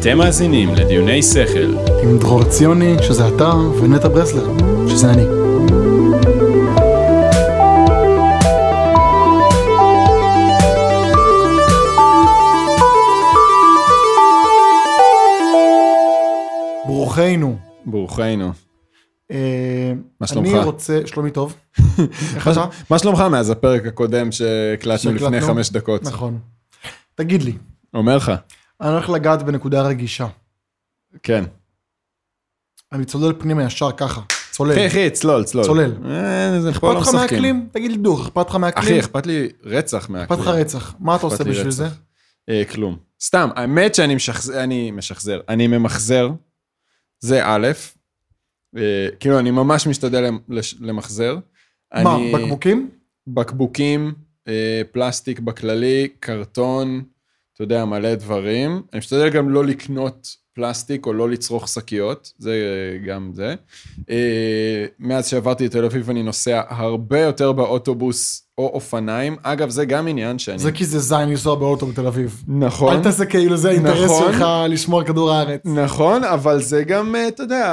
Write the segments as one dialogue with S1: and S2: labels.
S1: אתם מאזינים לדיוני שכל,
S2: עם דרור ציוני, שזה אתה, ונטע ברסלר, שזה אני. ברוכנו.
S1: ברוכנו.
S2: אה,
S1: מה שלומך?
S2: אני רוצה... שלומי טוב. איך אתה?
S1: מה שלומך מאז הפרק הקודם שהקלטנו לפני
S2: שהקלטנו?
S1: חמש דקות?
S2: נכון. תגיד לי,
S1: אומר לך,
S2: אני הולך לגעת בנקודה רגישה.
S1: כן.
S2: אני צולל פנימה ישר ככה, צולל.
S1: אחי, אחי, צלול, צלול.
S2: צולל.
S1: אה, זה פה
S2: אכפת
S1: לא
S2: לך
S1: משחקים.
S2: מהאקלים? תגיד לי דוך, אכפת לך
S1: אחי,
S2: מהאקלים?
S1: אכפת לי רצח מהאקלים.
S2: אכפת לך רצח. מה אתה
S1: אכפת
S2: עושה
S1: לי
S2: בשביל
S1: רצח.
S2: זה?
S1: אה, כלום. סתם, האמת שאני משחזר, אני משחזר, אני ממחזר, זה א', אה, כאילו אני ממש משתדל לש- למחזר.
S2: מה,
S1: אני-
S2: בקבוקים?
S1: בקבוקים, אה, פלסטיק בכללי, קרטון, אתה יודע, מלא דברים. אני משתדל גם לא לקנות פלסטיק או לא לצרוך שקיות, זה אה, גם זה. אה, מאז שעברתי לתל אביב אני נוסע הרבה יותר באוטובוס או אופניים. אגב, זה גם עניין שאני...
S2: זה כי זה זין לנסוע באוטו בתל אביב.
S1: נכון.
S2: אל תעשה כאילו זה האינטרס
S1: נכון.
S2: שלך לשמור על כדור הארץ.
S1: נכון, אבל זה גם, אה, אתה יודע,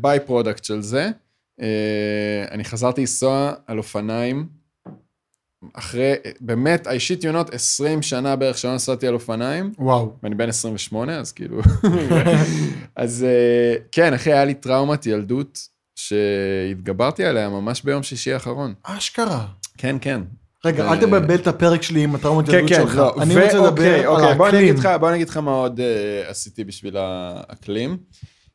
S1: ביי פרודקט של זה. אה, אני חזרתי לנסוע על אופניים, אחרי, אה, באמת, I shit you not, 20 שנה בערך שלא נסעתי על אופניים,
S2: וואו.
S1: ואני בן 28, אז כאילו... אז אה, כן, אחי, היה לי טראומת ילדות שהתגברתי עליה ממש ביום שישי האחרון.
S2: אשכרה.
S1: כן, כן.
S2: רגע,
S1: אה,
S2: אל תבלבל את הפרק שלי עם הטראומות
S1: כן,
S2: ילדות
S1: כן,
S2: שלך.
S1: לא.
S2: אני
S1: ו-
S2: רוצה
S1: אוקיי,
S2: לדבר על
S1: אוקיי, בוא אני
S2: האקלים.
S1: אגיד לך- בוא אני אגיד לך מה עוד אה, עשיתי בשביל האקלים.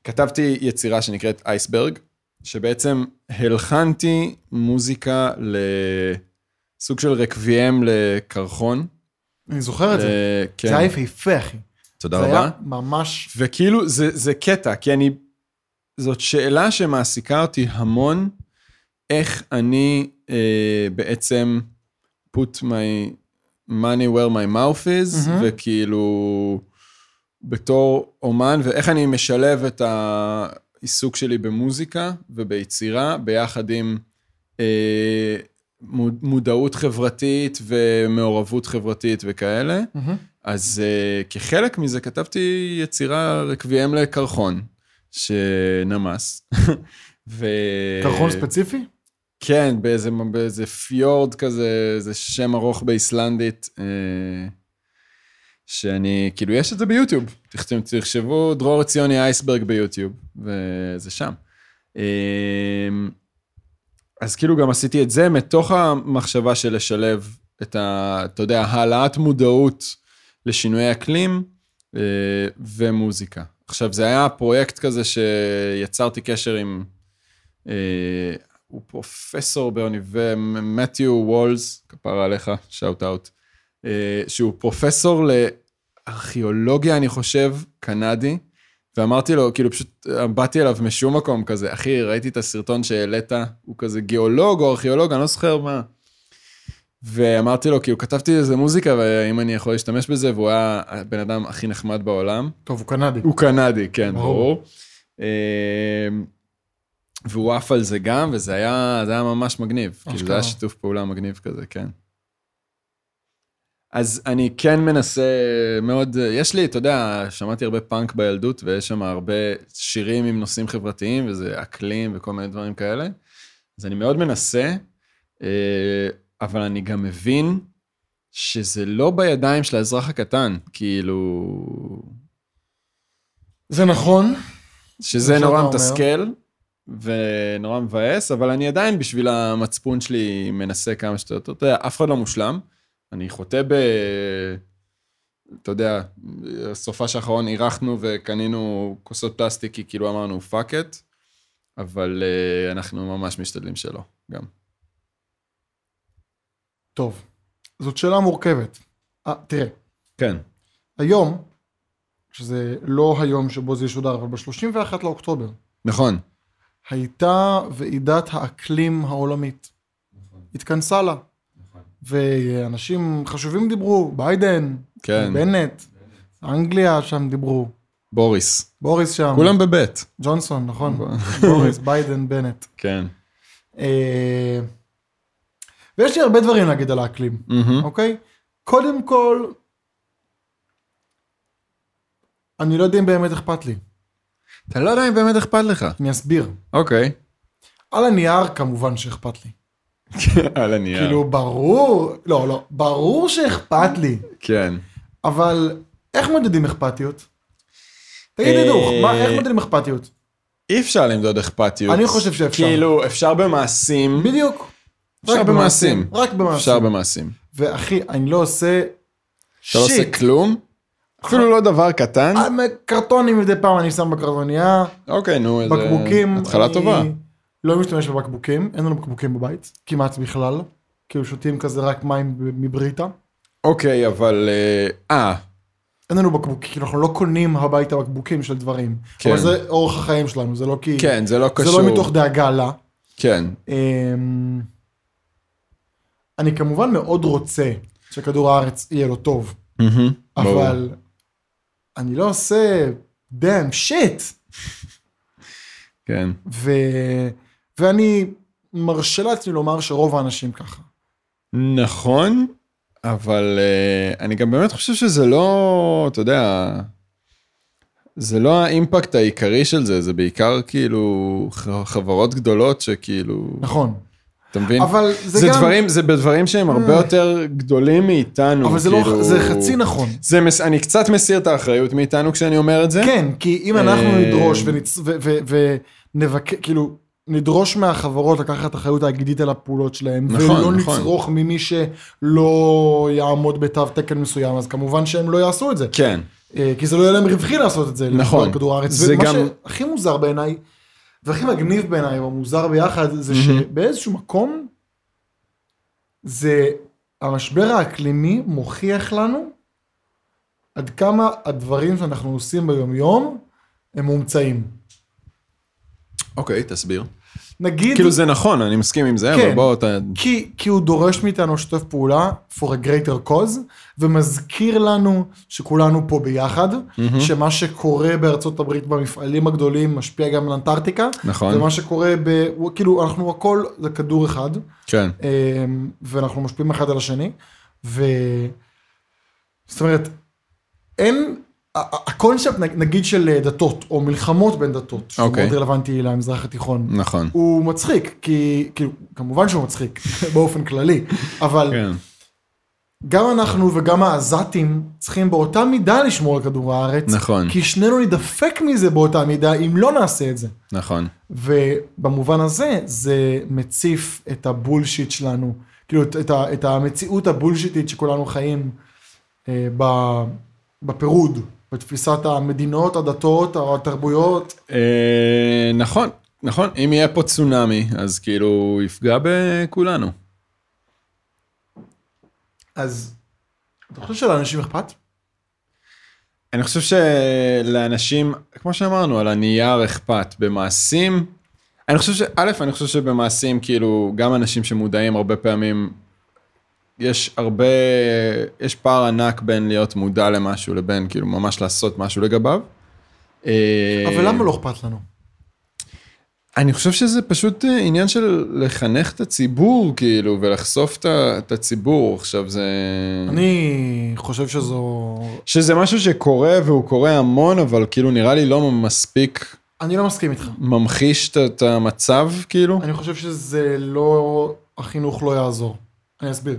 S1: כתבתי יצירה שנקראת אייסברג, שבעצם הלחנתי מוזיקה לסוג של רקביהם לקרחון.
S2: אני זוכר את זה.
S1: אה, כן,
S2: זה היה יפהפה, אחי.
S1: תודה
S2: זה
S1: רבה.
S2: היה ממש...
S1: וכאילו, זה, זה קטע, כי אני... זאת שאלה שמעסיקה אותי המון, איך אני אה, בעצם put my money where my mouth is, mm-hmm.
S2: מהמם.
S1: וכאילו, בתור אומן, ואיך אני משלב את העיסוק שלי במוזיקה וביצירה, ביחד עם אה, מוד- מודעות חברתית ומעורבות חברתית וכאלה.
S2: מהמם.
S1: אז uh, כחלק מזה כתבתי יצירה רקביהם לקרחון, שנמס. ו...
S2: קרחון
S1: אה,
S2: ספציפי?
S1: כן, באיזה, באיזה פיורד כזה, זה שם ארוך באיסלנדית, אה, שאני, כאילו, יש את זה ביוטיוב. תכתב- תחשבו דרור ציוני אייסברג ביוטיוב, וזה שם. אה, אז כאילו גם עשיתי את זה מתוך המחשבה של לשלב את ה... אתה יודע, העלאת מודעות לשינויי אקלים אה, ומוזיקה. עכשיו, זה היה פרויקט כזה שיצרתי קשר עם... אה, הוא פרופסור באוניברסיטה, מתיו וולס, כפרה עליך, שאוט אאוט, אה, שהוא פרופסור לארכיאולוגיה, אני חושב, קנדי, ואמרתי לו, כאילו פשוט אה, באתי אליו משום מקום כזה, אחי, ראיתי את הסרטון שהעלית, הוא כזה גיאולוג או ארכיאולוג, אני לא זוכר מה. ואמרתי לו, כאילו, כתבתי איזה מוזיקה, והאם אני יכול להשתמש בזה, והוא היה הבן אדם הכי נחמד בעולם.
S2: טוב, הוא קנדי.
S1: הוא קנדי, כן,
S2: ברור.
S1: ברור. אמ, והוא עף על זה גם, וזה היה, זה היה ממש מגניב. כאילו, זה
S2: אשכרה.
S1: היה שיתוף פעולה מגניב כזה, כן. אז אני כן מנסה מאוד, יש לי, אתה יודע, שמעתי הרבה פאנק בילדות, ויש שם הרבה שירים עם נושאים חברתיים, וזה אקלים וכל מיני דברים כאלה. אז אני מאוד מנסה, אה, אבל אני גם מבין שזה לא בידיים של האזרח הקטן, כאילו...
S2: זה נכון.
S1: שזה
S2: מה שאתה
S1: נורא
S2: אומר.
S1: מתסכל ונורא מבאס, אבל אני עדיין בשביל המצפון שלי מנסה כמה שיותר. אתה יודע, אף אחד לא מושלם. אני חוטא ב... אתה יודע, סופה שאחרון אירחנו וקנינו כוסות פלסטיק, כי כאילו אמרנו פאק את, אבל אה, אנחנו ממש משתדלים שלא, גם.
S2: טוב, זאת שאלה מורכבת. אה, תראה,
S1: כן.
S2: היום, שזה לא היום שבו זה ישודר, אבל ב-31 לאוקטובר,
S1: נכון.
S2: הייתה ועידת האקלים העולמית. התכנסה לה. ואנשים חשובים דיברו, ביידן,
S1: כן.
S2: בנט, אנגליה שם דיברו,
S1: בוריס.
S2: בוריס שם,
S1: כולם בבית.
S2: ג'ונסון, נכון, בוריס, ביידן, בנט.
S1: כן.
S2: אה, ויש לי הרבה דברים להגיד על האקלים.
S1: מהמם.
S2: אוקיי? קודם כל, אני לא יודע אם באמת אכפת לי.
S1: אתה לא יודע אם באמת אכפת לך.
S2: אני אסביר.
S1: אוקיי.
S2: על הנייר כמובן שאכפת לי.
S1: על הנייר.
S2: כאילו, ברור, לא, לא, ברור שאכפת לי,
S1: כן.
S2: אבל איך מודדים אכפתיות? תגיד
S1: אה,
S2: לי דוך, מה- איך מודדים אכפתיות?
S1: אי אפשר למדוד אכפתיות.
S2: אני חושב שאפשר.
S1: כאילו, אפשר במעשים.
S2: בדיוק.
S1: אפשר
S2: רק
S1: במעשים.
S2: רק
S1: אפשר
S2: במעשים.
S1: במעשים.
S2: ואחי, אני לא עושה
S1: אתה לא עושה
S2: שיט. אה,
S1: כלום? אפילו לא דבר קטן?
S2: קרטונים מדי פעם אני שם בקרטונייה,
S1: אוקיי, נו, איזה...
S2: בקבוקים.
S1: התחלה
S2: אני
S1: טובה.
S2: לא משתמש בבקבוקים, אין לנו בקבוקים בבית, כמעט בכלל. כאילו שותים כזה רק מים מבריטה.
S1: אוקיי, אבל... אה, אה,
S2: אין לנו בקבוקים, כאילו אנחנו לא קונים הביתה בקבוקים של דברים.
S1: כן.
S2: אבל זה אורח החיים שלנו, זה לא כי...
S1: כן, זה לא
S2: זה
S1: קשור.
S2: לא מתוך דאגה לה.
S1: כן.
S2: אמ, אני כמובן מאוד רוצה שכדור הארץ יהיה לו טוב,
S1: מהמם, ברור.
S2: אבל אני לא עושה דאם שיט,
S1: כן.
S2: ו... ואני מרשה לעצמי לומר שרוב האנשים ככה.
S1: נכון, אבל אה, אני גם באמת חושב שזה לא, אתה יודע, זה לא האימפקט העיקרי של זה, זה בעיקר כאילו ח- חברות גדולות שכאילו,
S2: נכון,
S1: אתה מבין?
S2: אבל
S1: זה,
S2: זה,
S1: כן. זה
S2: גם...
S1: דברים, זה בדברים שהם הרבה
S2: אה.
S1: יותר גדולים מאיתנו,
S2: אבל זה,
S1: כאילו...
S2: לא... זה חצי נכון.
S1: זה מס... אני קצת מסיר את האחריות מאיתנו כשאני אומר את זה.
S2: כן, כי אם אנחנו
S1: אה,
S2: נדרוש ונצ... ו... ו... ו... ונבק... כאילו, נדרוש מהחברות לקחת אחריות תאגידית על הפעולות שלהם,
S1: נכון,
S2: ולא
S1: נכון.
S2: נצרוך ממי שלא יעמוד בתו תקן מסוים, אז כמובן שהם לא יעשו את זה.
S1: כן.
S2: אה, כי זה לא יהיה להם רווחי לעשות את זה.
S1: נכון.
S2: לכדור- כדור הארץ.
S1: זה
S2: זה ומה
S1: גם-
S2: גם... שהכי מוזר בעיניי, והכי מגניב בעיניי, או מוזר ביחד, זה
S1: מהמם.
S2: שבאיזשהו מקום, זה המשבר האקלימי מוכיח לנו עד כמה הדברים שאנחנו עושים ביום-יום הם מומצאים.
S1: אוקיי, תסביר.
S2: נגיד,
S1: כאילו זה נכון, אני מסכים עם זה, אבל
S2: כן.
S1: בוא, אתה...
S2: כי, כי הוא דורש מאיתנו לשתף פעולה for a greater cause, ומזכיר לנו שכולנו פה ביחד, mm-hmm. שמה שקורה בארצות הברית במפעלים הגדולים משפיע גם על אנטארקטיקה,
S1: נכון.
S2: ומה שקורה ב... כאילו אנחנו הכל זה כדור אחד,
S1: כן.
S2: אמ, ואנחנו משפיעים אחד על השני, ו... זאת אומרת, אין... ה- ה- הקונספט נ- נגיד של אה, דתות, או מלחמות בין דתות, שהוא
S1: אוקיי.
S2: מאוד רלוונטי למזרח התיכון,
S1: נכון.
S2: הוא מצחיק, כי, כאילו, כמובן שהוא מצחיק, באופן כללי, אבל כן.
S1: כן.
S2: גם אנחנו וגם העזתים צריכים באותה מידה לשמור על כדור הארץ,
S1: נכון.
S2: כי שנינו נידפק מזה באותה מידה אם לא נעשה את זה.
S1: נכון.
S2: ובמובן הזה, זה מציף את הבולשיט שלנו, כאילו, את, את, ה- את המציאות הבולשיטית שכולנו חיים אה, ב- בפירוד, בתפיסת המדינות, הדתות, התרבויות,
S1: אה, נכון, נכון. אם יהיה פה צונאמי, אז כאילו הוא יפגע בכולנו.
S2: אז אתה חושב שלאנשים אכפת?
S1: אני חושב שלאנשים, כמו שאמרנו, על הנייר אכפת, במעשים, אני חושב ש... א', אני חושב שבמעשים, כאילו, גם אנשים שמודעים הרבה פעמים, יש הרבה, יש פער ענק בין להיות מודע למשהו לבין כאילו ממש לעשות משהו לגביו. אה,
S2: אבל למה לא אכפת לנו?
S1: אני חושב שזה פשוט אה, עניין של לחנך את הציבור, כאילו, ולחשוף את ה- את הציבור. עכשיו זה...
S2: אני חושב שזו...
S1: שזה משהו שקורה, והוא קורה המון, אבל כאילו נראה לי לא מספיק
S2: אני לא מסכים איתך.
S1: ממחיש את- את המצב, כאילו.
S2: אני חושב שזה לא... החינוך לא יעזור. אני אסביר.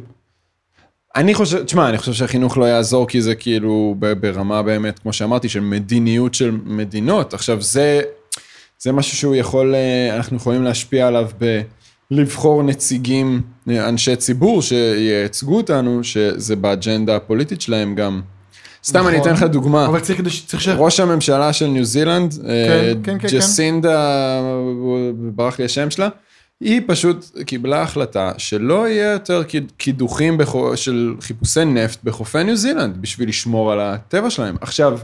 S1: אני חושב, תשמע, אני חושב שהחינוך לא יעזור, כי זה כאילו ב- ברמה באמת, כמו שאמרתי, של מדיניות של מדינות. עכשיו, זה, זה משהו שהוא יכול, אה, אנחנו יכולים להשפיע עליו ב... לבחור נציגים, אה, אנשי ציבור שייצגו אותנו, שזה באג'נדה הפוליטית שלהם גם. סתם, אני
S2: נכון.
S1: אתן לך דוגמה.
S2: אבל צריך כדי ש... צריך ש...
S1: ראש הממשלה של ניו זילנד, אה,
S2: כן, כן, כן.
S1: ג'סינדה, הוא- ברח לי השם שלה, היא פשוט קיבלה החלטה שלא יהיה יותר קיד- קידוחים בחו- של חיפושי נפט בחופי ניו זילנד, בשביל לשמור על הטבע שלהם. עכשיו,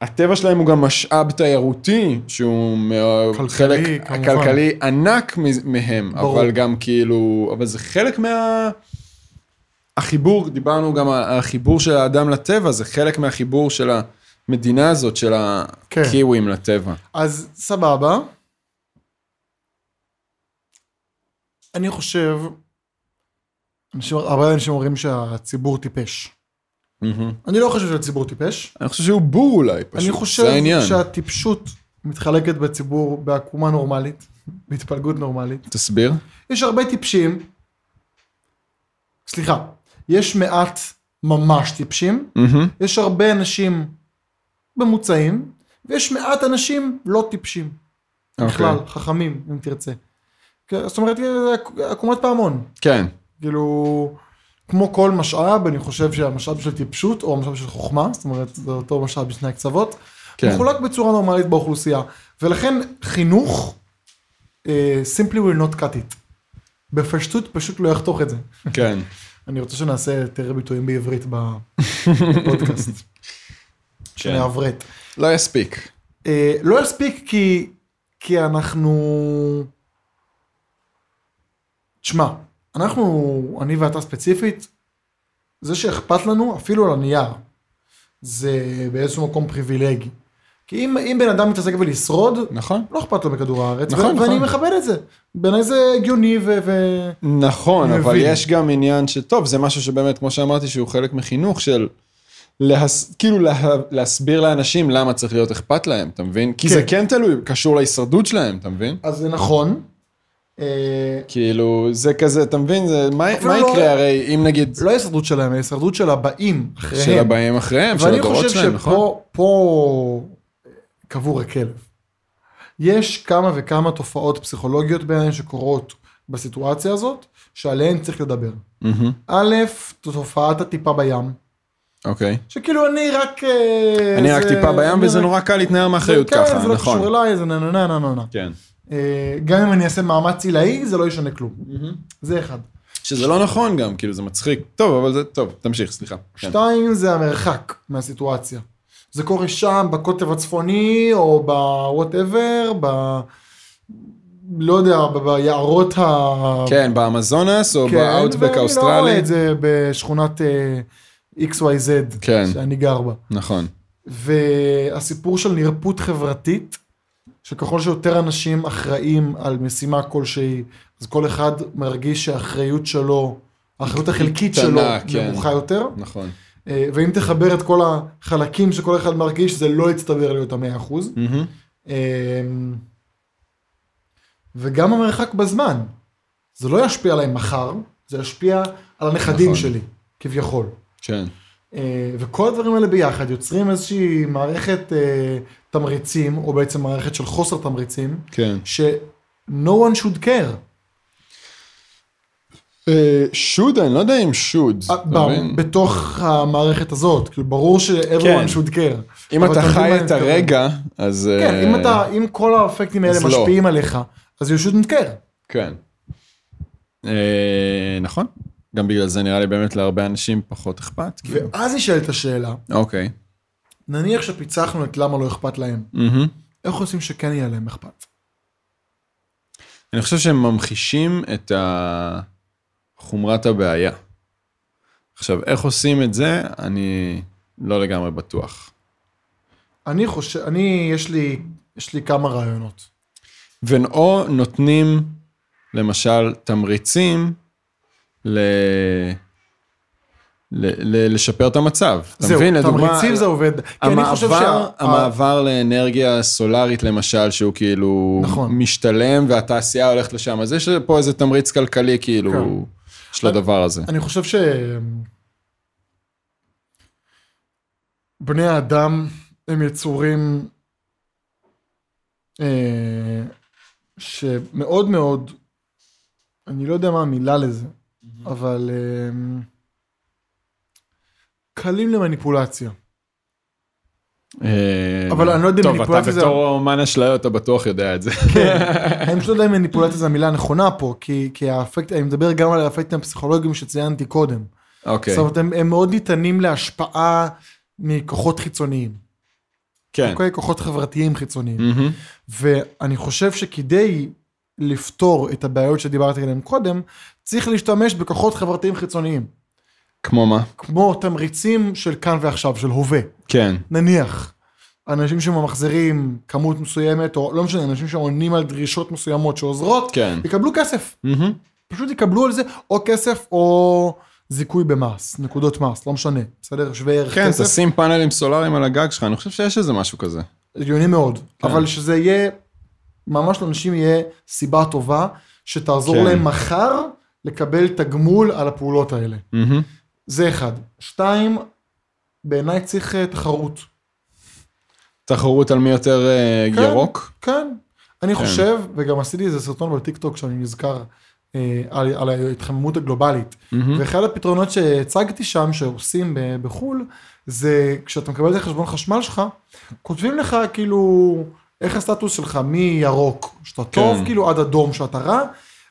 S1: הטבע שלהם הוא גם משאב תיירותי, שהוא מאוד-
S2: כלכלי,
S1: חלק
S2: כמובן.
S1: כלכלי ענק מ- מהם,
S2: ברור.
S1: אבל גם כאילו, אבל זה חלק מה... החיבור, דיברנו גם על החיבור של האדם לטבע, זה חלק מהחיבור של המדינה הזאת, של
S2: כן.
S1: הקיווים לטבע.
S2: אז סבבה. אני חושב... אנשים, הרבה אנשים אומרים שהציבור טיפש.
S1: מהמם.
S2: אני לא חושב שהציבור טיפש.
S1: אני חושב שהוא בור אולי, פשוט.
S2: אני
S1: זה
S2: חושב
S1: העניין.
S2: שהטיפשות מתחלקת בציבור בעקומה נורמלית, בהתפלגות נורמלית.
S1: תסביר.
S2: יש הרבה טיפשים, סליחה, יש מעט ממש טיפשים,
S1: מהמם.
S2: יש הרבה אנשים ממוצעים, ויש מעט אנשים לא טיפשים.
S1: אוקיי.
S2: בכלל, חכמים, אם תרצה. כן, זאת אומרת, זה עקומת פעמון.
S1: כן.
S2: כאילו, כמו כל משאב, אני חושב שהמשאב של טיפשות, או המשאב של חוכמה, זאת אומרת, זה אותו משאב בשני הקצוות,
S1: כן.
S2: כן. מחולק בצורה נורמלית באוכלוסייה. ולכן חינוך, אה, simply will not cut it. בפשטות פשוט לא יחתוך את זה.
S1: כן.
S2: אני רוצה שנעשה יותר ביטויים בעברית בפודקאסט, שנעברת.
S1: לא יספיק.
S2: אה, לא יספיק כי, כי אנחנו... תשמע, אנחנו, אני ואתה ספציפית, זה שאכפת לנו, אפילו על הנייר, זה באיזשהו מקום פריבילגי. כי אם, אם בן אדם מתעסק בלשרוד,
S1: נכון.
S2: לא אכפת לו מכדור הארץ,
S1: נכון,
S2: ו-
S1: נכון.
S2: ואני מכבד את זה. בעיניי זה הגיוני ו... ו-
S1: נכון,
S2: מבין.
S1: אבל יש גם עניין של, טוב, זה משהו שבאמת, כמו שאמרתי, שהוא חלק מחינוך של... להס... כאילו לה... להסביר לאנשים למה צריך להיות אכפת להם, אתה מבין? כי זה
S2: כן.
S1: כן תלוי, קשור להישרדות שלהם, אתה מבין?
S2: אז זה נכון. אה,
S1: כאילו, זה כזה, אתה מבין? זה... מה,
S2: אפילו
S1: מה
S2: לא-
S1: יקרה הרי אם נגיד,
S2: לא ההישרדות שלהם, ההישרדות של הבאים אחריהם.
S1: של הבאים אחריהם, של
S2: ואני
S1: הדורות
S2: חושב
S1: שלהם, נכון?
S2: שפה פה קבור הכלב. יש כמה וכמה תופעות פסיכולוגיות בעיניי שקורות בסיטואציה הזאת, שעליהן צריך לדבר.
S1: מהמם.
S2: א', זו תופעת הטיפה בים,
S1: אוקיי.
S2: שכאילו אני רק... אה,
S1: אני
S2: זה-
S1: רק טיפה בים,
S2: אני
S1: וזה
S2: רק-
S1: נורא קל להתנער מאחריות
S2: כן,
S1: ככה,
S2: זה לא קשור
S1: נכון.
S2: אליי, זה נה נה נה נה נה נה.
S1: כן.
S2: אה, גם אם אני אעשה מאמץ עילאי, זה לא ישנה כלום. זה אחד.
S1: שזה לא נכון גם, כאילו, זה מצחיק. טוב, אבל זה, טוב, תמשיך, סליחה. כן.
S2: שתיים זה המרחק מהסיטואציה. זה קורה שם בקוטב הצפוני או בוואטאבר, ב... לא יודע, ב- ביערות ה...
S1: כן, באמזונס או באאוטבק
S2: כן, ואני לא רואה
S1: האוסטרלי.
S2: את זה בשכונת אה, XYZ,
S1: כן.
S2: שאני גר בה.
S1: נכון.
S2: והסיפור של נרפות חברתית, שככל שיותר אנשים אחראים על משימה כלשהי, אז כל אחד מרגיש שהאחריות שלו, האחריות החלקית
S1: קטנה,
S2: שלו,
S1: כן.
S2: נמוכה יותר.
S1: נכון.
S2: אה, ואם תחבר את כל החלקים שכל אחד מרגיש, זה לא יצטבר להיות המאה אחוז. אה, וגם המרחק בזמן, זה לא ישפיע עליי מחר, זה ישפיע על הנכדים
S1: נכון.
S2: שלי, כביכול.
S1: כן.
S2: אה, וכל הדברים האלה ביחד יוצרים איזושהי מערכת אה, תמריצים, או בעצם מערכת של חוסר תמריצים,
S1: כן.
S2: ש- no one should care.
S1: שוד, אני לא יודע אם שוד.
S2: אה, ב- בתוך המערכת הזאת, כאילו ברור
S1: כן.
S2: ש-everyone should care.
S1: אם
S2: אבל
S1: אתה
S2: מבין מה
S1: חי
S2: אני
S1: את
S2: מתכוון.
S1: הרגע, אז... אה,
S2: כן, אם אתה, אם כל האפקטים האלה
S1: אז לא.
S2: משפיעים עליך, אז you shouldn't care.
S1: כן. אה, נכון. גם בגלל זה נראה לי באמת להרבה אנשים פחות אכפת. כאילו.
S2: ואז נשאלת השאלה,
S1: אוקיי.
S2: נניח שפיצחנו את למה לא אכפת להם,
S1: מהמם.
S2: איך עושים שכן יהיה להם אכפת?
S1: אני חושב שהם ממחישים את ה- חומרת הבעיה. עכשיו, איך עושים את זה, אני לא לגמרי בטוח.
S2: אני חושב, אני, יש לי, יש לי כמה רעיונות.
S1: ואו נותנים, למשל, תמריצים ל... ל... ל... לשפר את המצב. אתה
S2: זהו,
S1: מבין? לדוגמה,
S2: תמריצים זה עובד. כי אני חושב
S1: המעבר,
S2: שה-
S1: המעבר לאנרגיה סולארית למשל, שהוא כאילו
S2: נכון.
S1: משתלם והתעשייה הולכת לשם, אז יש פה איזה תמריץ כלכלי כאילו
S2: כן.
S1: של הדבר הזה.
S2: אני חושב ש... בני האדם הם יצורים אה, שמאוד מאוד, אני לא יודע מה המילה לזה, אבל אה, קלים למניפולציה.
S1: אה,
S2: אבל אני כן. לא יודע אם
S1: טוב, אתה
S2: מניפולציה זה-
S1: בתור אומן אשליות, אתה בטוח יודע את זה.
S2: אני פשוט לא יודע אם מניפולציה זו המילה הנכונה פה, כי, כי האפקט, אני מדבר גם על האפקטים הפסיכולוגיים שציינתי קודם.
S1: אוקיי,
S2: זאת אומרת, הם, הם מאוד ניתנים להשפעה מכוחות חיצוניים.
S1: כן.
S2: אוקיי? כוחות חברתיים חיצוניים.
S1: מהמם.
S2: ואני חושב שכדי לפתור את הבעיות שדיברתי עליהן קודם, צריך להשתמש בכוחות חברתיים חיצוניים.
S1: כמו מה?
S2: כמו תמריצים של כאן ועכשיו, של הווה.
S1: כן.
S2: נניח, אנשים שממחזרים כמות מסוימת, או לא משנה, אנשים שעונים על דרישות מסוימות שעוזרות,
S1: כן.
S2: יקבלו כסף.
S1: מהמם.
S2: פשוט יקבלו על זה או כסף או זיכוי במס, נקודות מס, לא משנה, בסדר? שווה ערך
S1: כן,
S2: כסף.
S1: תשים פאנלים סולאריים על הגג שלך, אני חושב שיש איזה משהו כזה.
S2: הגיוני מאוד,
S1: כן.
S2: כן. אבל שזה יהיה, ממש לאנשים יהיה סיבה טובה שתעזור
S1: כן.
S2: כן. להם מחר לקבל תגמול על הפעולות האלה.
S1: מהמם.
S2: זה אחד. שתיים, בעיניי צריך אה, תחרות.
S1: תחרות על מי יותר אה,
S2: כן.
S1: ירוק.
S2: כן, אני
S1: כן.
S2: חושב, וגם עשיתי איזה סרטון בטיקטוק שאני נזכר אה, על, על ההתחממות הגלובלית.
S1: מהמם.
S2: ואחד הפתרונות שהצגתי שם, שעושים ב- בחו"ל, זה כשאתה מקבל את החשבון חשמל שלך, כותבים לך כאילו, איך הסטטוס שלך מירוק, שאתה טוב,
S1: כן.
S2: כאילו עד אדום, שאתה רע,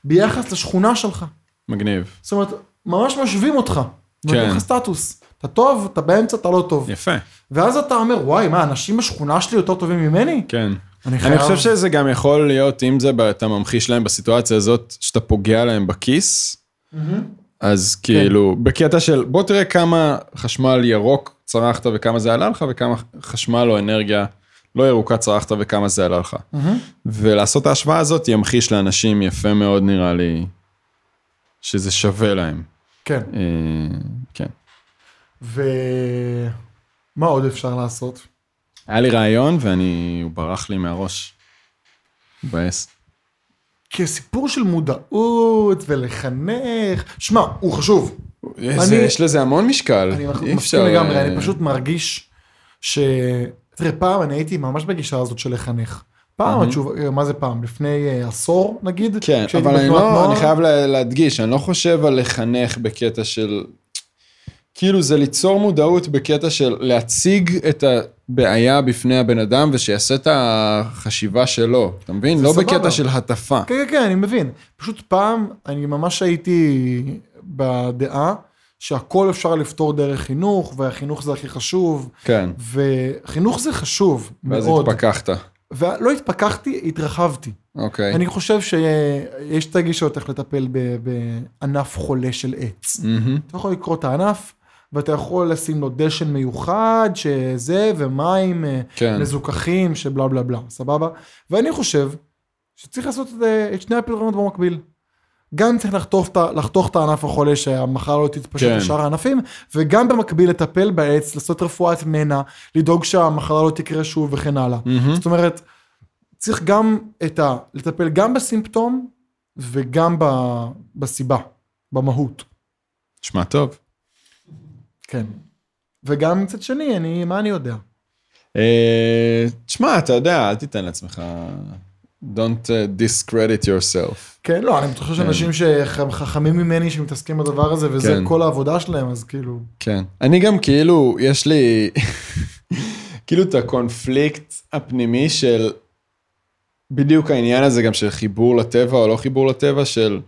S2: ביחס לשכונה שלך.
S1: מגניב.
S2: זאת אומרת, ממש משווים אותך.
S1: כן.
S2: נותנים לך סטטוס. אתה טוב, אתה באמצע, אתה לא טוב.
S1: יפה,
S2: ואז אתה אומר, וואי, מה, אנשים בשכונה שלי יותר טובים ממני?
S1: כן.
S2: אני
S1: אני חושב שזה גם יכול להיות, אם זה, ב- אתה ממחיש להם בסיטואציה הזאת, שאתה פוגע להם בכיס,
S2: כן.
S1: אז כאילו, בקטע של בוא תראה כמה חשמל ירוק צרכת וכמה זה עלה לך, וכמה חשמל או אנרגיה לא ירוקה צרכת וכמה זה עלה לך.
S2: מהמם.
S1: ולעשות את ההשוואה הזאת ימחיש לאנשים יפה מאוד נראה לי, שזה שווה להם.
S2: כן.
S1: אה, כן.
S2: ומה עוד אפשר לעשות?
S1: היה לי רעיון ואני, הוא ברח לי מהראש. מבאס.
S2: כסיפור של מודעות ולחנך, שמע, הוא חשוב.
S1: איזה- יש לזה המון משקל.
S2: אני
S1: אה, אי
S2: מסכים
S1: אפשר,
S2: לגמרי,
S1: אה,
S2: אני פשוט מרגיש ש... תראה, פעם אני הייתי ממש בגישה הזאת של לחנך. פעם
S1: מהמם.
S2: התשובה, מה זה פעם? לפני אה, עשור נגיד?
S1: כן,
S2: כשהייתי
S1: אבל אני
S2: בתנועת
S1: לא,
S2: נוער?
S1: אני חייב לה- להדגיש, אני לא חושב על לחנך בקטע של... כאילו זה ליצור מודעות בקטע של להציג את הבעיה בפני הבן אדם ושיעשה את החשיבה שלו, אתה מבין?
S2: זה
S1: לא
S2: סבבה.
S1: בקטע של הטפה.
S2: כן, כן, כן, אני מבין. פשוט פעם אני ממש הייתי בדעה שהכל אפשר לפתור דרך חינוך, והחינוך זה הכי חשוב,
S1: כן,
S2: וחינוך זה חשוב
S1: ואז
S2: מאוד.
S1: התפכחת.
S2: ולא התפכחתי, התרחבתי.
S1: אוקיי.
S2: אני חושב שיש את הגישות איך לטפל ב- בענף חולה של עץ.
S1: מהמם.
S2: אתה יכול לקרוא את הענף, ואתה יכול לשים לו דשן מיוחד, שזה, ומים אה,
S1: כן,
S2: מזוכחים, שבלה בלה בלה, סבבה? ואני חושב שצריך לעשות את, אה, את שני הפתרונות במקביל. גם צריך לחתוך, את ה- לחתוך את הענף החולה שהמחר לא תתפשט
S1: כן.
S2: לשאר הענפים, וגם במקביל לטפל בעץ, לעשות רפואת מנע, לדאוג שהמחלה לא תקרה שוב וכן הלאה.
S1: מהמם.
S2: Mm-hmm. זאת אומרת, צריך גם את ה... לטפל גם בסימפטום וגם ב, בסיבה, במהות.
S1: נשמע טוב.
S2: כן. וגם מצד שני, אני, מה אני יודע?
S1: אה, תשמע, אתה יודע, אל תיתן לעצמך... Don't uh, discredit yourself.
S2: כן, לא, אני חושב שאנשים שחכמים ממני שמתעסקים בדבר הזה, וזה
S1: כן.
S2: כל העבודה שלהם, אז כאילו...
S1: כן. אני גם כאילו, יש לי כאילו את הקונפליקט הפנימי של בדיוק העניין הזה גם של חיבור לטבע או לא חיבור לטבע, של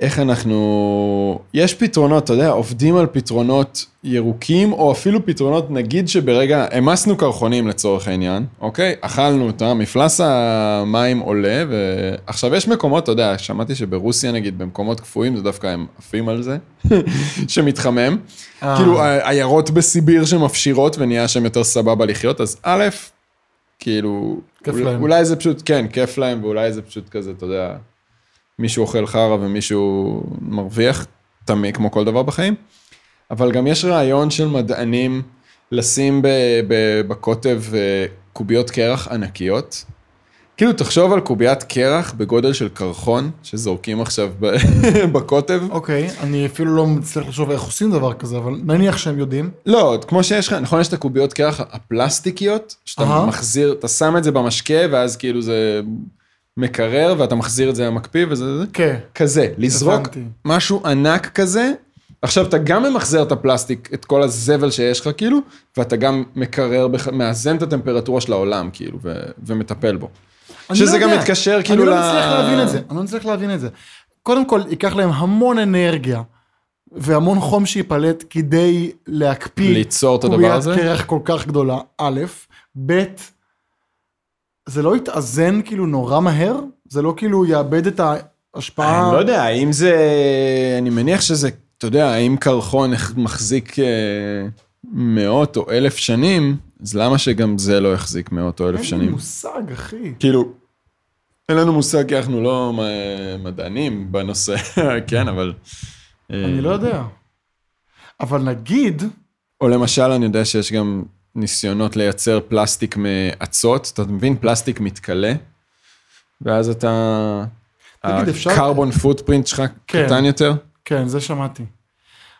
S1: איך אנחנו... יש פתרונות, אתה יודע, עובדים על פתרונות ירוקים, או אפילו פתרונות, נגיד שברגע, המסנו קרחונים לצורך העניין, אוקיי? אכלנו אותם, מפלס המים עולה, ועכשיו יש מקומות, אתה יודע, שמעתי שברוסיה נגיד, במקומות קפואים, זה דווקא הם עפים על זה, שמתחמם.
S2: אה,
S1: כאילו ה- עיירות בסיביר שמפשירות ונהיה שם יותר סבבה לחיות, אז א', כאילו,
S2: כיף
S1: אול-
S2: להם.
S1: אולי זה פשוט, כן, כיף להם, ואולי זה פשוט כזה, אתה יודע, מישהו אוכל חרא ומישהו מרוויח, טמא כמו כל דבר בחיים. אבל גם יש רעיון של מדענים לשים ב- ב- בקוטב אה, קוביות קרח ענקיות. כאילו, תחשוב על קוביית קרח בגודל של קרחון, שזורקים עכשיו ב- בקוטב.
S2: אוקיי, אני אפילו לא מצליח לחשוב איך עושים דבר כזה, אבל נניח שהם יודעים.
S1: לא, כמו שיש לך, נכון, יש את הקוביות קרח הפלסטיקיות, שאתה
S2: אהה.
S1: מחזיר, אתה שם את זה במשקה, ואז כאילו זה מקרר, ואתה מחזיר את זה למקפיא, וזה זה.
S2: כן.
S1: כזה, לזרוק
S2: הבנתי.
S1: משהו ענק כזה. עכשיו, אתה גם ממחזר את הפלסטיק, את כל הזבל שיש לך, כאילו, ואתה גם מקרר, בח- מאזן את הטמפרטורה של העולם, כאילו, ו- ומטפל בו.
S2: אני
S1: שזה
S2: לא
S1: גם
S2: יודע.
S1: מתקשר, כאילו,
S2: אני
S1: ל-
S2: לא מצליח להבין את זה, אני לא מצליח להבין את זה. קודם כל, ייקח להם המון אנרגיה והמון חום שייפלט כדי להקפיא
S1: ליצור את הדבר הזה?
S2: קרח כל כך גדולה, א', ב', זה לא יתאזן כאילו נורא מהר? זה לא כאילו יאבד את ההשפעה?
S1: אני לא יודע, האם זה... אני מניח שזה, אתה יודע, האם קרחון מחזיק אה, מאות או אלף שנים, אז למה שגם זה לא יחזיק מאות או אלף
S2: אין לי
S1: שנים?
S2: מושג, אחי.
S1: כאילו, אין לנו מושג, כי אנחנו לא מ- מדענים בנושא, כן, אבל
S2: אני לא יודע. אבל נגיד,
S1: או למשל, אני יודע שיש גם ניסיונות לייצר פלסטיק מאצות, אתה מבין? פלסטיק מתכלה, ואז אתה...
S2: תגיד, אפשר-
S1: הקרבון פוטפרינט שלך
S2: כן.
S1: קטן יותר?
S2: כן, זה שמעתי.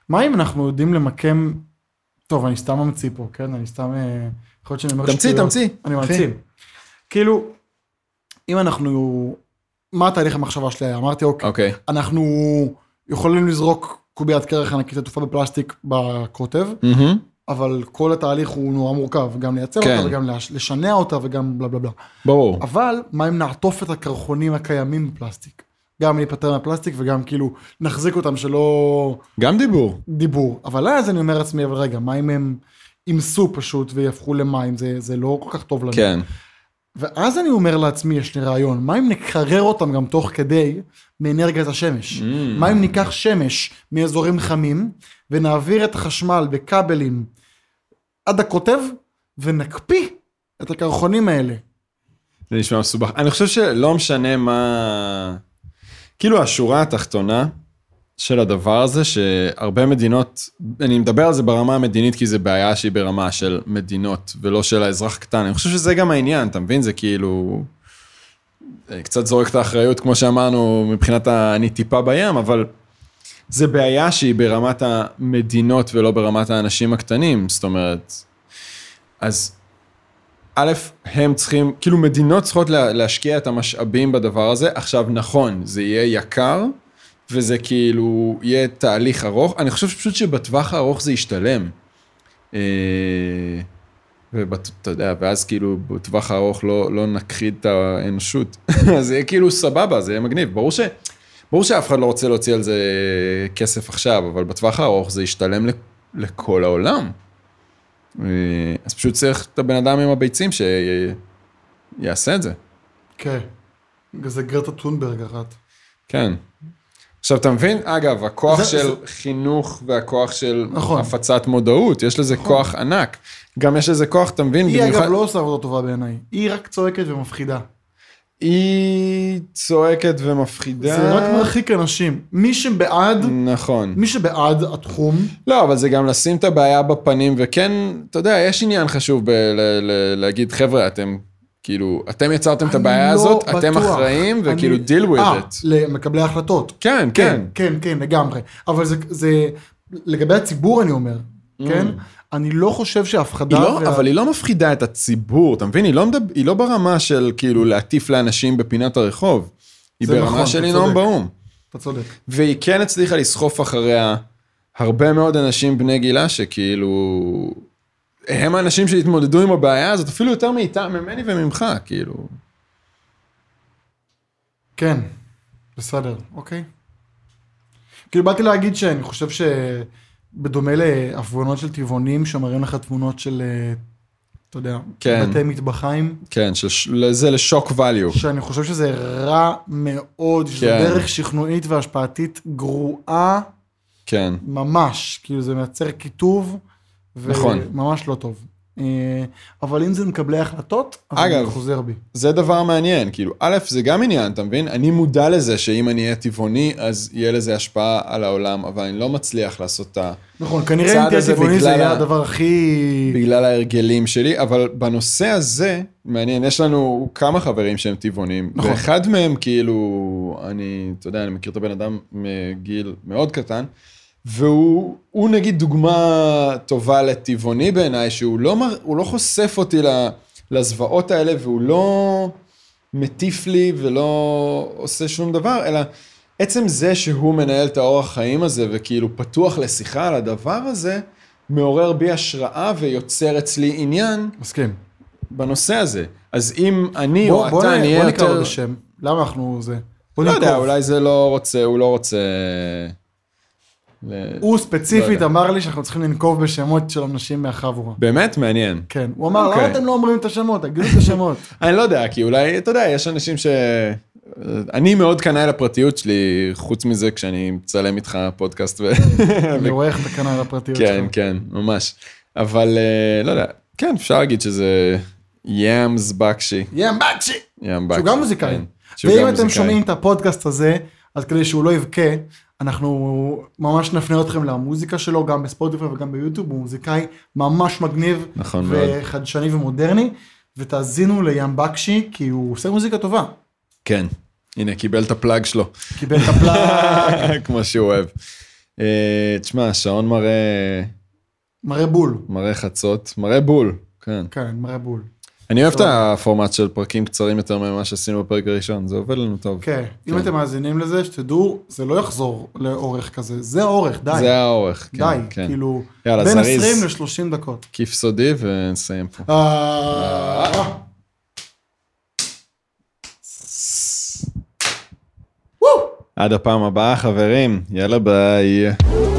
S2: מה אם אנחנו יודעים למקם... טוב, אני סתם ממציא פה, כן? אני סתם... אה, יכול להיות שאני אומר
S1: תמציא,
S2: שטויות.
S1: תמציא.
S2: אוקיי. אני
S1: אחי.
S2: ממציא. כאילו, אם אנחנו... מה תהליך המחשבה שלי היה? אמרתי, אוקיי,
S1: אוקיי.
S2: אנחנו יכולים לזרוק קוביית קרח ענקית עטופה בפלסטיק בקוטב,
S1: מהמם.
S2: אבל כל התהליך הוא נורא מורכב, גם לייצר
S1: כן.
S2: אותה וגם לש- לשנע אותה וגם בלה בלה בלה.
S1: ברור.
S2: אבל מה אם נעטוף את הקרחונים הקיימים בפלסטיק? גם להיפטר מהפלסטיק וגם כאילו נחזיק אותם שלא
S1: גם דיבור.
S2: דיבור. אבל אז אני אומר לעצמי, אבל רגע, מה אם הם ימסו פשוט ויהפכו למים? זה, זה לא כל כך טוב לנו.
S1: כן.
S2: ואז אני אומר לעצמי, יש לי רעיון, מה אם נקרר אותם גם תוך כדי מאנרגיית השמש?
S1: Mm.
S2: מה אם ניקח שמש מאזורים חמים ונעביר את החשמל בכבלים עד הקוטב ונקפיא את הקרחונים האלה?
S1: זה נשמע מסובך. אני חושב שלא משנה מה... כאילו השורה התחתונה של הדבר הזה, שהרבה מדינות, אני מדבר על זה ברמה המדינית, כי זו בעיה שהיא ברמה של מדינות, ולא של האזרח קטן. אני חושב שזה גם העניין, אתה מבין? זה כאילו... אה, קצת זורק את האחריות, כמו שאמרנו, מבחינת ה... אני טיפה בים, אבל... זה בעיה שהיא ברמת המדינות ולא ברמת האנשים הקטנים, זאת אומרת. אז א', הם צריכים, כאילו מדינות צריכות לה, להשקיע את המשאבים בדבר הזה. עכשיו, נכון, זה יהיה יקר, וזה כאילו יהיה תהליך ארוך. אני חושב פשוט שבטווח הארוך זה ישתלם. אה, ובת- אתה יודע, ואז כאילו בטווח הארוך לא, לא נכחיד את האנושות. אז זה יהיה כאילו סבבה, זה יהיה מגניב. ברור, ש, ברור שאף אחד לא רוצה להוציא על זה כסף עכשיו, אבל בטווח הארוך זה ישתלם לכ- לכל העולם. אה, אז פשוט צריך את הבן אדם עם הביצים שיעשה את זה.
S2: כן. זה גרטה טונברג אחת.
S1: כן. עכשיו, אתה מבין? אגב, הכוח
S2: זה-
S1: זה, של
S2: זה-
S1: זה... חינוך והכוח של
S2: נכון.
S1: נכון. הפצת מודעות, יש לזה נכון. כוח ענק. גם יש לזה כוח, אתה מבין?
S2: היא אגב לא עושה עבודה טובה בעיניי, היא רק צועקת ומפחידה.
S1: היא צועקת ומפחידה.
S2: זה רק מרחיק אנשים. מי שבעד,
S1: נכון.
S2: מי שבעד התחום,
S1: לא, אבל זה גם לשים את הבעיה בפנים, וכן, אתה יודע, יש עניין חשוב ב- ל- ל- להגיד, חבר'ה, אתם, כאילו, אתם יצרתם את
S2: אני
S1: הבעיה
S2: לא
S1: הזאת, אתם
S2: בטוח.
S1: אחראים,
S2: אני-
S1: וכאילו, deal with
S2: אה,
S1: it.
S2: למקבלי ההחלטות.
S1: כן,
S2: כן,
S1: כן.
S2: כן, כן, לגמרי. אבל זה, זה לגבי הציבור אני אומר, כן? אני לא חושב שההפחדה...
S1: היא Mm. לא,
S2: וה-
S1: אבל היא לא מפחידה את הציבור, אתה מבין? היא לא, מדב... היא לא ברמה של כאילו להטיף לאנשים בפינת הרחוב. היא
S2: זה
S1: ברמה
S2: נכון,
S1: של
S2: אתה
S1: לנאום
S2: צודק.
S1: באו"ם.
S2: אתה צודק.
S1: והיא כן הצליחה לסחוף אחריה הרבה מאוד אנשים בני גילה שכאילו... הם האנשים שהתמודדו עם הבעיה הזאת, אפילו יותר מאיתם, ממני וממך, כאילו.
S2: כן, בסדר, אוקיי. כאילו באתי להגיד שאני חושב שבדומה להפגנות של טבעונים שמראים לך תמונות של, אה, אתה יודע,
S1: כן.
S2: בתי מטבחיים,
S1: כן, של... ש- זה לשוק value.
S2: שאני חושב שזה רע מאוד, שזו
S1: כן.
S2: דרך שכנועית והשפעתית גרועה
S1: כן.
S2: ממש, כאילו זה מייצר קיטוב,
S1: נכון.
S2: וממש לא טוב. אה, אבל אם זה מקבלי החלטות, אז
S1: אגב.
S2: אני חוזר בי.
S1: זה דבר מעניין, כאילו, א', זה גם עניין, אתה מבין? אני מודע לזה שאם אני אהיה טבעוני, אז יהיה לזה השפעה על העולם, אבל אני לא מצליח לעשות את ה...
S2: נכון, כנראה אם
S1: הצעד
S2: תהיה
S1: הזה
S2: טבעוני זה
S1: בגלל
S2: יהיה
S1: ה-
S2: הדבר הכי...
S1: בגלל ההרגלים שלי, אבל בנושא הזה, מעניין, יש לנו כמה חברים שהם טבעונים,
S2: נכון.
S1: נכון. ואחד מהם, כאילו, אני, אתה יודע, אני מכיר את הבן אדם מגיל מאוד קטן, והוא הוא נגיד דוגמה טובה לטבעוני בעיניי, שהוא לא, מר, הוא לא חושף אותי ל- לזוועות האלה, והוא לא מטיף לי ולא עושה שום דבר, אלא... עצם זה שהוא מנהל את האורח חיים הזה וכאילו פתוח לשיחה על הדבר הזה, מעורר בי השראה ויוצר אצלי עניין
S2: מסכים.
S1: בנושא הזה. אז אם אני
S2: בוא,
S1: או
S2: בוא,
S1: אתה
S2: נ-
S1: נהיה
S2: בוא נקרא לו
S1: יותר...
S2: בשם. למה אנחנו זה? בוא
S1: לא יודע,
S2: ננקוב.
S1: אולי זה לא רוצה, הוא לא רוצה... ל-
S2: הוא
S1: לא
S2: ספציפית
S1: יודע.
S2: אמר לי שאנחנו צריכים לנקוב בשמות של אנשים מהחבורה.
S1: באמת מעניין.
S2: כן, הוא אמר,
S1: אוקיי.
S2: למה אתם לא אומרים את השמות? תגידו את השמות.
S1: אני לא יודע, כי אולי, אתה יודע, יש אנשים ש... אני מאוד קנאי לפרטיות שלי, חוץ מזה כשאני מצלם איתך פודקאסט ו...
S2: אני רואה איך אתה קנה על הפרטיות שלך.
S1: כן, כן, ממש. אבל אה, לא יודע, כן, אפשר להגיד שזה יאמס בקשי.
S2: יא מבקשי!
S1: ים בקשי.
S2: שהוא גם מוזיקאי.
S1: כן, שהוא גם
S2: ואם אתם
S1: מוזיקאי.
S2: שומעים את הפודקאסט הזה, אז כדי שהוא לא יבכה, אנחנו ממש נפנה אתכם למוזיקה שלו, גם בספוטיפיי וגם ביוטיוב, הוא מוזיקאי ממש מגניב,
S1: נכון מאוד.
S2: וחדשני ומודרני, ותאזינו לים בקשי, כי הוא עושה מוזיקה טובה.
S1: כן. הנה, קיבל את הפלאג שלו,
S2: קיבל את הפלאג,
S1: כמו שהוא אוהב. אה, תשמע, השעון מראה,
S2: מראה בול.
S1: מראה חצות, מראה בול, כן.
S2: כן, מראה בול.
S1: אני אוהב את
S2: טוב.
S1: הפורמט של פרקים קצרים יותר ממה שעשינו בפרק הראשון, זה עובד לנו טוב.
S2: כן,
S1: כן.
S2: אם אתם מאזינים לזה, שתדעו, זה לא יחזור לאורך כזה, זה האורך, די.
S1: זה האורך, כן,
S2: די,
S1: כן.
S2: כאילו,
S1: יאללה,
S2: בין
S1: זריז.
S2: 20 ל-30 דקות.
S1: כיף סודי ונסיים פה.
S2: אה,
S1: עד הפעם הבאה, חברים, יאללה ביי.